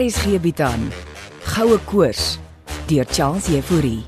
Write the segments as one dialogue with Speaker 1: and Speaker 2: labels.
Speaker 1: RSG bied aan Goue Koors deur Charles Euphorie.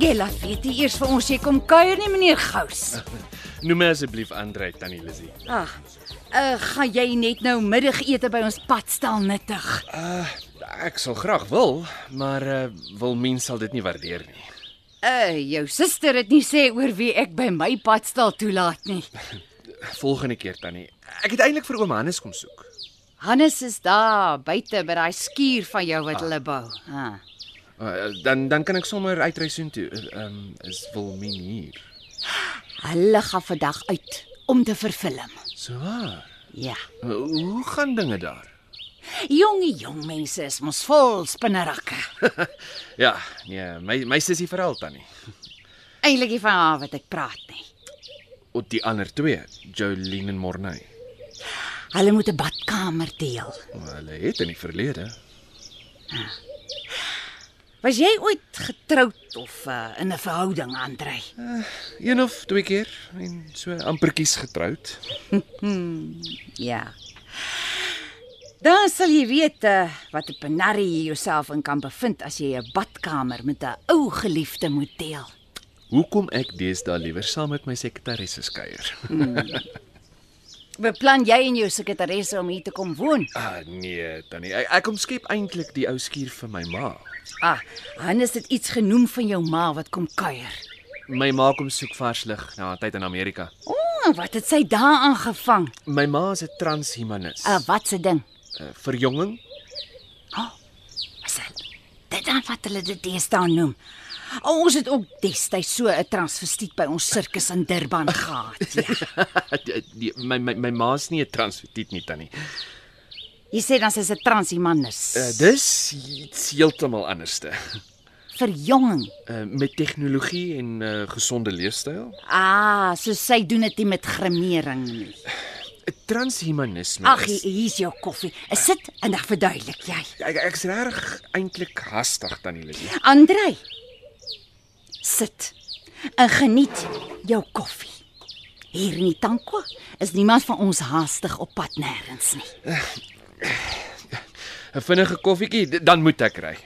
Speaker 2: Gela weet nie eers vir ons jy kom kuier nie meneer Gous.
Speaker 3: Noem my asseblief Andre Tannie Lizzie.
Speaker 2: Ag. Uh, gaan jy net nou middagete by ons padstal nuttig?
Speaker 3: Ah, Ek sal graag wil, maar uh, wil mens sal dit nie waardeer nie.
Speaker 2: Uh, jou suster het nie sê oor wie ek by my padstal toelaat nie.
Speaker 3: Volgende keer Tannie. Ek het eintlik vir oom Hannes kom soek.
Speaker 2: Hannes is daar buite by daai skuur van jou wat hulle bou. Ah. Ha.
Speaker 3: Uh, dan dan kan ek sommer uitry soontoe. Ehm uh, um, is Wilmien hier.
Speaker 2: Hulle gaan vandag uit om te vervilm.
Speaker 3: So waar.
Speaker 2: Ja.
Speaker 3: Uh, hoe gaan dinge daar?
Speaker 2: Jonge jong mense is mos vol spinnerakke.
Speaker 3: ja, nee, my my sussie veral Tannie.
Speaker 2: Eilik nie van haar wat ek praat nie.
Speaker 3: Op die ander twee, Jolene en Morney.
Speaker 2: Hulle moet 'n badkamer deel.
Speaker 3: Maar Hulle het in die verlede.
Speaker 2: Was jy ooit getroud of uh, in 'n verhouding, Andrej?
Speaker 3: Een of twee keer en so ampertjies getroud.
Speaker 2: Ja. Dan sal jy weet eh, wat 'n penarie jy jouself in kan bevind as jy 'n badkamer met 'n ou geliefde moet deel.
Speaker 3: Hoekom ek deesdae liewer saam met my sekretaresse kuier?
Speaker 2: Beplan jy en jou sekretaresse om hier te kom woon?
Speaker 3: Ah nee, Tannie. Ek, ek omskep eintlik die ou skuur vir my ma.
Speaker 2: Ah, Hannes het iets genoem van jou ma wat kom kuier.
Speaker 3: My ma kom soek vars lig na haar tyd in Amerika.
Speaker 2: O, oh, wat het sy daaraan gevang?
Speaker 3: My ma is 'n transhumanis.
Speaker 2: 'n Wat se ding?
Speaker 3: Uh, verjonging?
Speaker 2: Is dit? Dit dan wat hulle dit deesdae noem. O, ons het ook destyds so 'n transvestiet by ons sirkus in Durban gehad. Ja.
Speaker 3: die, die, my my my ma is nie 'n transvestiet nie, Tannie.
Speaker 2: Jy sê dan sy's 'n transimanus.
Speaker 3: Uh, dis iets heeltemal anderste.
Speaker 2: Verjonging.
Speaker 3: Uh, met tegnologie en uh, gesonde leefstyl.
Speaker 2: Ah, so sy doen dit nie met grimering nie.
Speaker 3: Uh, Transhumanisme.
Speaker 2: Ag,
Speaker 3: is-
Speaker 2: hier- hier's jou koffie. Ek Sit en dan verduidelik jy.
Speaker 3: ek ek's reg eintlik hastig, Tannie Lizzie.
Speaker 2: Andrej. Sit en geniet jou koffie. Hier in die Tankwa is niemand van ons haastig op pad nêrens nie.
Speaker 3: 'n Vinnige koffietjie, d- dan moet ek ry.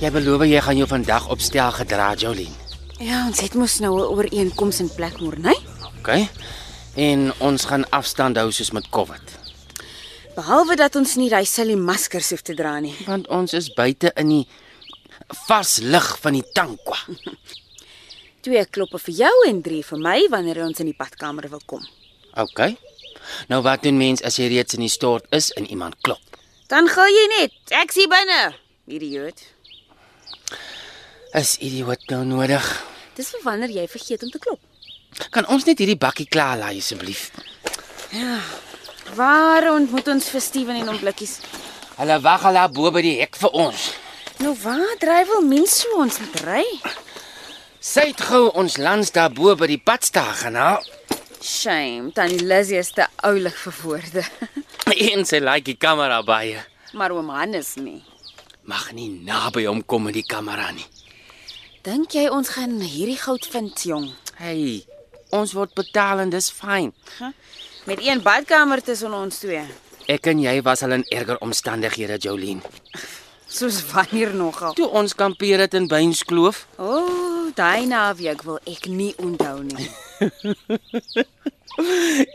Speaker 4: Jy beloof jy gaan jou vandag opstel gedra, Jolien.
Speaker 5: Ja, ons het mos nou 'n ooreenkoms in plek Morney,
Speaker 4: OK? En ons gaan afstand hou soos met COVID.
Speaker 5: behalwe dat ons nie daai silly maskers hoef te dra nie.
Speaker 4: Want ons is buite in die vars lig van die tankwa.
Speaker 5: Twee kloppe vir jou en drie vir my wanneer ons in die badkamer wil kom.
Speaker 4: OK? Nou wat doen mens as jy reeds in die stort is en iemand klop?
Speaker 5: Dan gaan jy net. Ek's hier binne. Idioot.
Speaker 4: Is idioot nou nodig?
Speaker 5: Dis vir wanneer jy vergeet om te klop.
Speaker 4: Kan ons net hierdie bakkie klaar laai asseblief?
Speaker 5: Waar ontmoet ons vir Steven en hom blikkies?
Speaker 4: Hulle wag al daar bo by die hek vir ons.
Speaker 5: Nou waar dryf wel mense so ons met ry?
Speaker 4: Syt gou ons lands daar bo by die padstaal gaan haal.
Speaker 5: Shame, tannie Lizzie is te oulik vir woorde.
Speaker 4: En sy laai die kamera by.
Speaker 5: maar oom Hannes nie.
Speaker 4: Mag nie naby hom kom met die kamera nie.
Speaker 5: Dink jy ons gaan hierdie goud vind, jong?
Speaker 4: Hey, ons word betaal en dis fyn.
Speaker 5: Met een badkamer tussen ons twee.
Speaker 4: Ek en jy was al in erger omstandighede, Jolien.
Speaker 5: Soos wanneer nogal.
Speaker 4: Toe ons kampeer het in Beinskloof,
Speaker 5: O, oh, daai naweek wil ek nie onthou nie.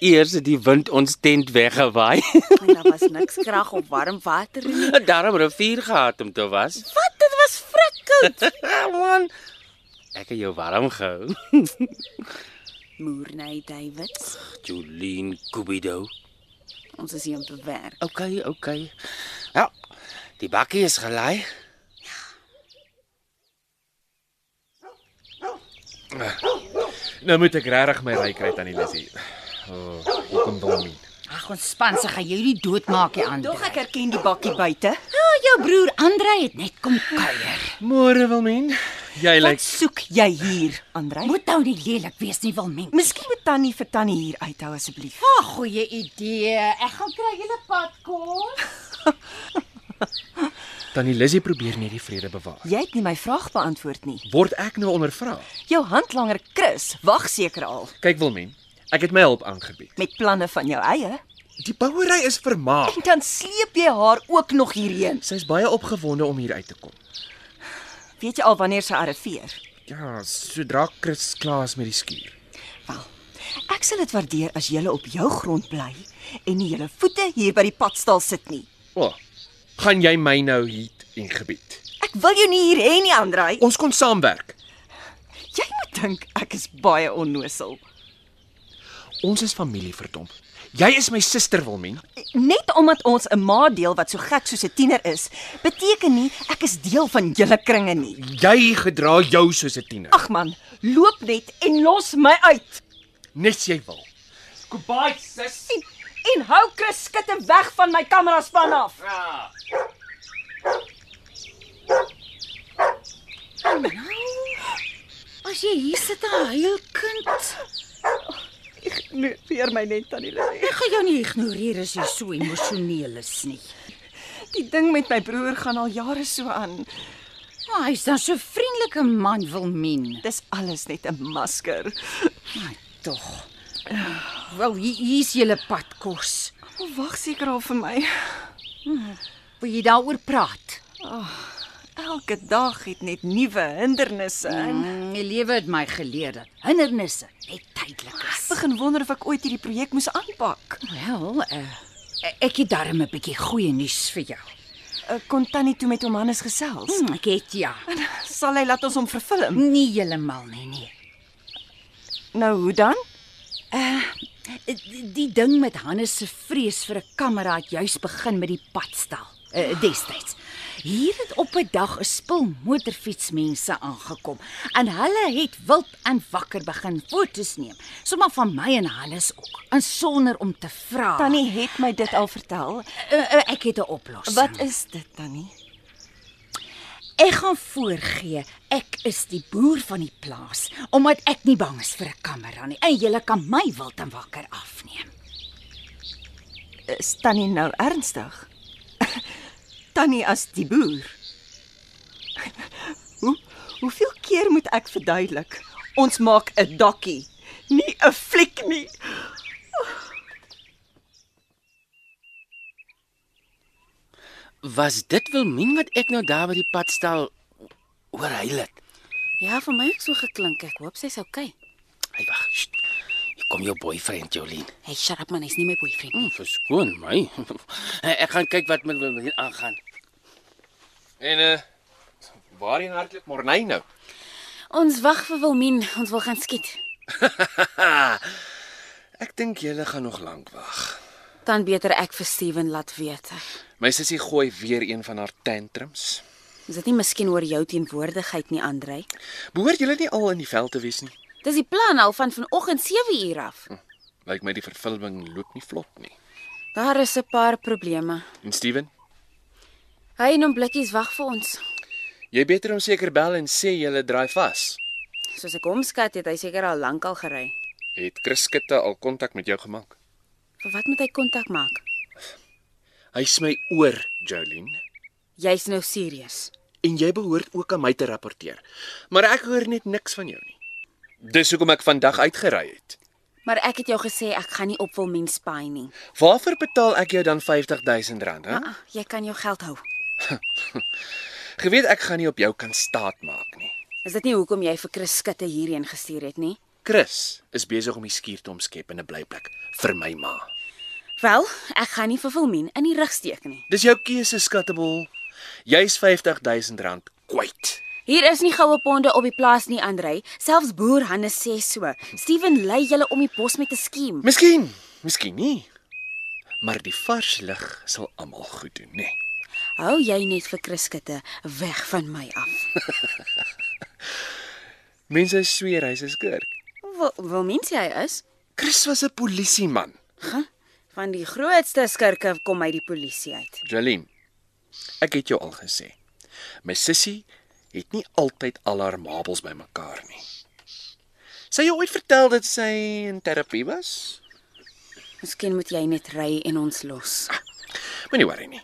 Speaker 4: eers het die wind ons tent weggewaai.
Speaker 5: En daar was niks krag of warm water nie.
Speaker 4: Daarom rivier gehad om te was. Ja,
Speaker 5: Wat? Dit was frikkoud.
Speaker 4: Man, ek het jou warm gehou.
Speaker 5: Moerney Davids,
Speaker 4: Jolien Kubido.
Speaker 5: ons is hier om te werk.
Speaker 4: Okay, okay. Ja. Die bakkie is gelaai.
Speaker 3: Nou moet ek regtig my ry kry Tannie Lizzie. O, oh, hier kom Wilmien.
Speaker 2: Ag, ons span se gaan jou nie doodmaak nie, Andre.
Speaker 6: Tog ek herken die bakkie buite.
Speaker 2: Ja, jou broer Andre het net kom kuier.
Speaker 3: Môre Wilmien. Jy
Speaker 6: Wat
Speaker 3: lyk
Speaker 6: soek jy hier, Andrej?
Speaker 2: Moet nou nie lelik wees nie, Wilmien.
Speaker 6: Miskien moet Tannie vir Tannie hier uithou asseblief.
Speaker 2: Ag, goeie idee. Ek gaan kry julle padkos.
Speaker 3: Tannie Lizzie probeer net die vrede bewaar.
Speaker 6: Jy het nie my vraag beantwoord nie.
Speaker 3: Word ek nou ondervra?
Speaker 6: Jou handlanger Chris wag seker al
Speaker 3: Kyk Wilmien, ek het my hulp aangebied.
Speaker 6: met planne van jou eie.
Speaker 3: Die bouery is vermaak.
Speaker 6: En dan sleep jy haar ook nog hierheen.
Speaker 3: Sy's baie opgewonde om hier uit te kom.
Speaker 6: Weet jy al wanneer sy arriveer?
Speaker 3: Ja, sodra Chris klaar is met die skuur.
Speaker 6: Wel, ek sal dit waardeer as jy op jou grond bly en nie jou voete hier by die padstal sit nie.
Speaker 3: O, gaan jy my nou heat en gebied?
Speaker 6: Ek wil jou nie hier hê nie, Andrej.
Speaker 3: Ons kon saamwerk.
Speaker 6: Jy moet dink ek is baie onnosel.
Speaker 3: Ons is familie verdomp. Jy is my suster Wilmien.
Speaker 6: Net omdat ons 'n ma deel wat so gek soos 'n tiener is, beteken nie ek is deel van julle kringe nie.
Speaker 3: Jy gedra jou soos 'n tiener.
Speaker 6: Ag man, loop net en los my uit.
Speaker 3: Net jy wil. Goodbye sis.
Speaker 6: En, en hou Chris skitte weg van my kamera span af.
Speaker 2: As jy hier sit en huil kind,
Speaker 6: Ignoreer Nee, my net tannie Lily.
Speaker 2: ek gaan jou nie ignoreer as jy so emosioneel is nie.
Speaker 6: Die ding met my broer gaan al jare so aan.
Speaker 2: Maar hy's dan so vriendelike man, Wilmien.
Speaker 6: Dis alles net 'n masker.
Speaker 2: Maar tog. Wel, hier hier is julle padkos.
Speaker 6: Hy wag seker al vir my.
Speaker 2: Wil jy daaroor praat?
Speaker 6: Elke dag het net nuwe hindernisse. en
Speaker 2: Mm, die lewe het my geleer dat hindernisse net tydelik is.
Speaker 6: Ek begin wonder of ek ooit hierdie projek moes aanpak.
Speaker 2: Wel, uh, ek het darm 'n bietjie goeie nuus vir jou.
Speaker 6: Ek Eh, kon tannie toe met hom Hannes gesels.
Speaker 2: Hm, Ek het ja.
Speaker 6: Sal hy laat ons hom vervilm?
Speaker 2: Nie heeltemal nie, nee.
Speaker 6: Nou hoe dan?
Speaker 2: Eh, Die- Die ding met Hannes se vrees vir 'n kamera het juis begin met die padstal. Uh, destyds. Hier het op 'n dag 'n spul motorfietsmense aangekom en hulle het wild en wakker begin foto's neem, sommer van my en Hannes ook, en sonder om te vra.
Speaker 6: Tannie het my dit al vertel.
Speaker 2: uh, uh, ek het 'n oplossing.
Speaker 6: Wat is dit, Tannie?
Speaker 2: Ek gaan voorgee ek is die boer van die plaas omdat ek nie bang is vir 'n kamera nie. En julle kan my wild en wakker afneem.
Speaker 6: Is Tannie nou ernstig? Tannie as die boer. Hoe hoeveel keer moet ek verduidelik? Ons maak 'n dokkie, nie 'n fliek nie.
Speaker 4: Was dit Wilmien wat ek nou daar by die pad stel oor huil het?
Speaker 5: Ja, vir my het so geklink. Ek hoop sy's okay.
Speaker 4: Hy wag. sst. Hier kom jou boyfriend Jolien.
Speaker 5: Hey, shut up man, hy's nie my boyfriend nie.
Speaker 4: Hmm, verskoon my. ek gaan kyk wat met Wilmien aangaan.
Speaker 3: En eh uh, waarheen hardloop Morney nou?
Speaker 5: Mm. Ons wag vir Wilmien. Ons wil gaan skiet.
Speaker 3: Ek dink julle gaan nog lank wag.
Speaker 5: Dan beter ek vir Steven laat weet.
Speaker 3: My sussie gooi weer een van haar tantrums.
Speaker 5: Is dit nie miskien oor jou teenwoordigheid nie, Andrej?
Speaker 3: Behoort julle nie al in die veld te wees nie.
Speaker 5: Dis die plan al van vanoggend 7 uur af.
Speaker 3: Lyk my die vervulling loop nie vlot nie.
Speaker 5: Daar is 'n paar probleme.
Speaker 3: En Steven,
Speaker 5: Hy en hom blikkies wag vir ons.
Speaker 3: jy beter hom seker bel en sê julle draai vas.
Speaker 5: Soos ek hom skat het, hy seker al lank al gery.
Speaker 3: Het Chris Skutte al kontak met jou gemaak?
Speaker 5: Vir wat moet hy kontak maak?
Speaker 3: Hy's my oor, Jolene.
Speaker 5: Jy's nou serieus.
Speaker 3: en jy behoort ook aan my te rapporteer. Maar ek hoor net niks van jou nie. Dis hoekom ek vandag uitgery het.
Speaker 5: Maar ek het jou gesê ek gaan nie op Wilmien spy nie.
Speaker 3: Waarvoor betaal ek jou dan R50000, hè?
Speaker 5: Ah, jy kan jou geld hou.
Speaker 3: Geweet ek gaan nie op jou kan staatmaak nie.
Speaker 5: Is dit nie hoekom jy vir Chris skitte hierheen gestuur het nie?
Speaker 3: Chris is besig om die skuur te omskep in 'n blyplek vir my ma.
Speaker 5: Wel, ek gaan nie vir Wilmien in die rug steek nie.
Speaker 3: Dis jou keuse, skattebol. Jy's R50000 kwyt.
Speaker 5: Hier is nie goue ponde op die plaas nie, Andrej. Selfs boer Hannes sê so. Steven lei julle om die bos met 'n skiem.
Speaker 3: Miskien, miskien nie. Maar die vars lig sal almal goed doen, né? Nee.
Speaker 5: Hou jy net vir Chris skitte weg van my af.
Speaker 3: Mense sweer hy's 'n skurk.
Speaker 5: Wil Wilmien sê hy is?
Speaker 3: Chris was 'n polisieman.
Speaker 5: Huh? Van die grootste skurke kom uit die polisie uit.
Speaker 3: Jalim. Ek het jou al gesê. My sussie het nie altyd al haar mabels bymekaar nie. Sy jou ooit vertel dat sy in terapie was?
Speaker 5: Miskien moet jy net ry en ons los.
Speaker 3: Moenie worry nie.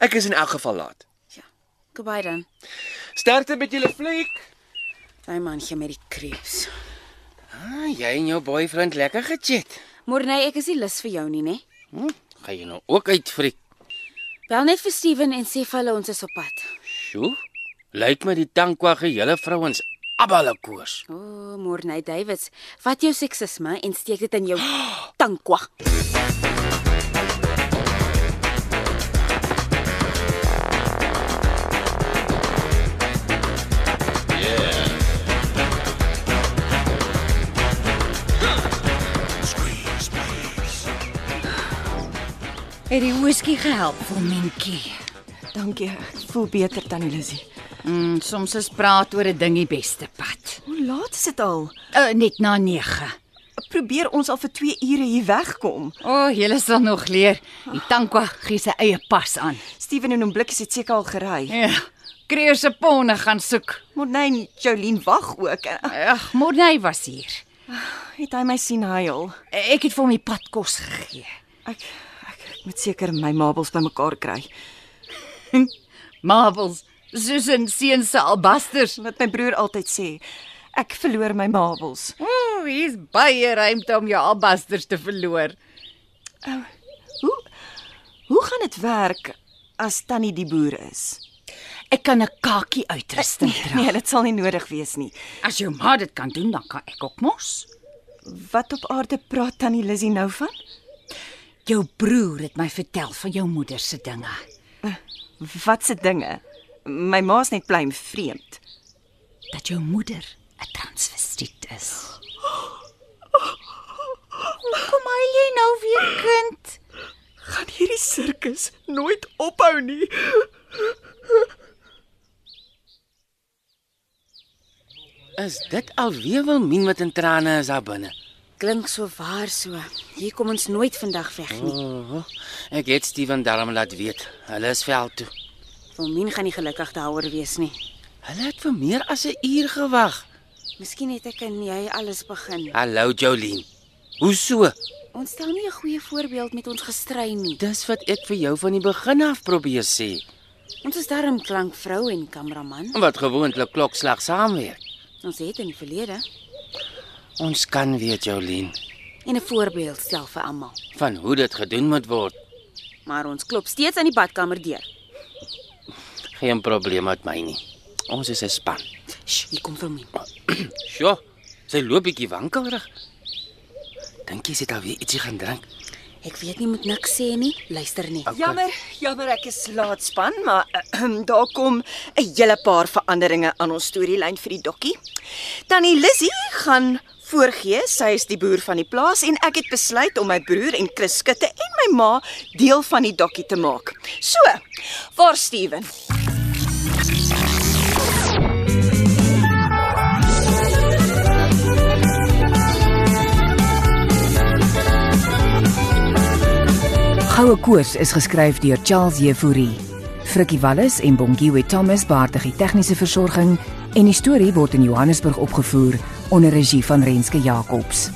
Speaker 3: Ek is in elk geval laat.
Speaker 5: Goodbye dan.
Speaker 3: Sterkte met julle fliek.
Speaker 5: Daai manjie met die kreeps.
Speaker 4: Ah, jy en jou boyfriend lekker gechat.
Speaker 5: Morney, ek is nie lus vir jou nie, né?
Speaker 4: Hm? Gaan jy nou ook uit friek?
Speaker 5: Bel net vir Steven en sê vir hulle ons is op pad.
Speaker 4: Sjoe. Lyk my die tankwa gehele vrouens abbale koers.
Speaker 5: O, oh, Morney Davids, vat jou seksisme en steek dit in jou tankwa.
Speaker 2: Het die whisky gehelp, Wilmentjie?
Speaker 6: Dankie. Ek voel beter tannie Lizzie.
Speaker 2: Mm, soms is praat oor 'n ding die beste pad.
Speaker 6: Hoe laat is dit al?
Speaker 2: Uh, net na 9.
Speaker 6: Probeer ons al vir 2 ure hier wegkom.
Speaker 2: O, oh, julle sal nog leer. Die tankwa gee sy eie pas aan.
Speaker 6: Steven en hom blikkies het seker al gery.
Speaker 2: Ja. Kreer se ponne gaan soek.
Speaker 6: Morney, Jolien wag ook. En, ag,
Speaker 2: Ag, Morney was hier.
Speaker 6: Het hy my sien huil?
Speaker 2: Ek het vir hom die pad kos gegee.
Speaker 6: Ek ek, ek moet seker my mabels bymekaar kry.
Speaker 2: Marbles, Susan seun se albasters.
Speaker 6: Wat my broer altyd sê, ek verloor my mabels.
Speaker 2: Ooh, hier's baie ruimte om jou albasters te verloor.
Speaker 6: Hoe hoe gaan dit werk as tannie die boer is?
Speaker 2: Ek kan 'n kakie uitrusting dra.
Speaker 6: Nee, dit sal nie nodig wees nie.
Speaker 2: As jou ma dit kan doen, dan kan ek ook mos.
Speaker 6: Wat op aarde praat tannie Lizzie nou van?
Speaker 2: Jou broer het my vertel van jou moeder se dinge.
Speaker 6: Wat se dinge? My ma's net plain vreemd.
Speaker 2: Dat jou moeder 'n transvestiet is. Hoekom hy jy nou weer kind?
Speaker 6: Gaan hierdie sirkus nooit ophou nie.
Speaker 4: Is dit alweer wil min wat in trane is daar binne?
Speaker 5: Klink so waar so. Hier kom ons nooit vandag weg nie.
Speaker 4: Oh, ek het Steven daarom laat weet. Hulle is veld toe.
Speaker 5: Wilmien gaan nie gelukkig daaroor wees nie.
Speaker 4: Hulle het vir meer as 'n uur gewag.
Speaker 5: Miskien het ek en jy alles begin.
Speaker 4: Hallo Jolien. Hoe so?
Speaker 5: Ons stel nie 'n goeie voorbeeld met ons gestrei nie.
Speaker 4: Dis wat ek vir jou van die begin af probeer sê.
Speaker 5: Ons is darm klankvrou en kameraman.
Speaker 4: Wat gewoonlik klokslag saamwerk.
Speaker 5: Ons het in die verlede
Speaker 4: Ons kan weet Jolien
Speaker 5: en 'n voorbeeld stel vir almal,
Speaker 4: van hoe dit gedoen moet word.
Speaker 5: maar ons klop steeds aan die badkamer deur.
Speaker 4: Geen probleem met my nie. Ons is 'n span.
Speaker 5: Sjoe, hier kom Wilmien.
Speaker 4: Sjoe, sy loop bietjie wankelrig. Dink jy sy het alweer ietsie gaan drink?
Speaker 5: Ek weet nie moet niks sê nie. Luister nie.
Speaker 4: Okay. Ja,
Speaker 6: Jammer, jammer ek is laat span, maar daar kom 'n hele paar veranderinge aan ons storielyn vir die dokkie. Tannie Lizzie gaan voorgee sy is die boer van die plaas en ek het besluit om my broer en Chris Skutte en my ma deel van die dokkie te maak. So, waar Steven?
Speaker 1: Goue Koors is geskryf deur Charles Jefouri. Frikkie Wallis en Bongiwe Thomas baartig die tegniese versorging en die storie word in Johannesburg opgevoer onder regie van Renske Jacobs.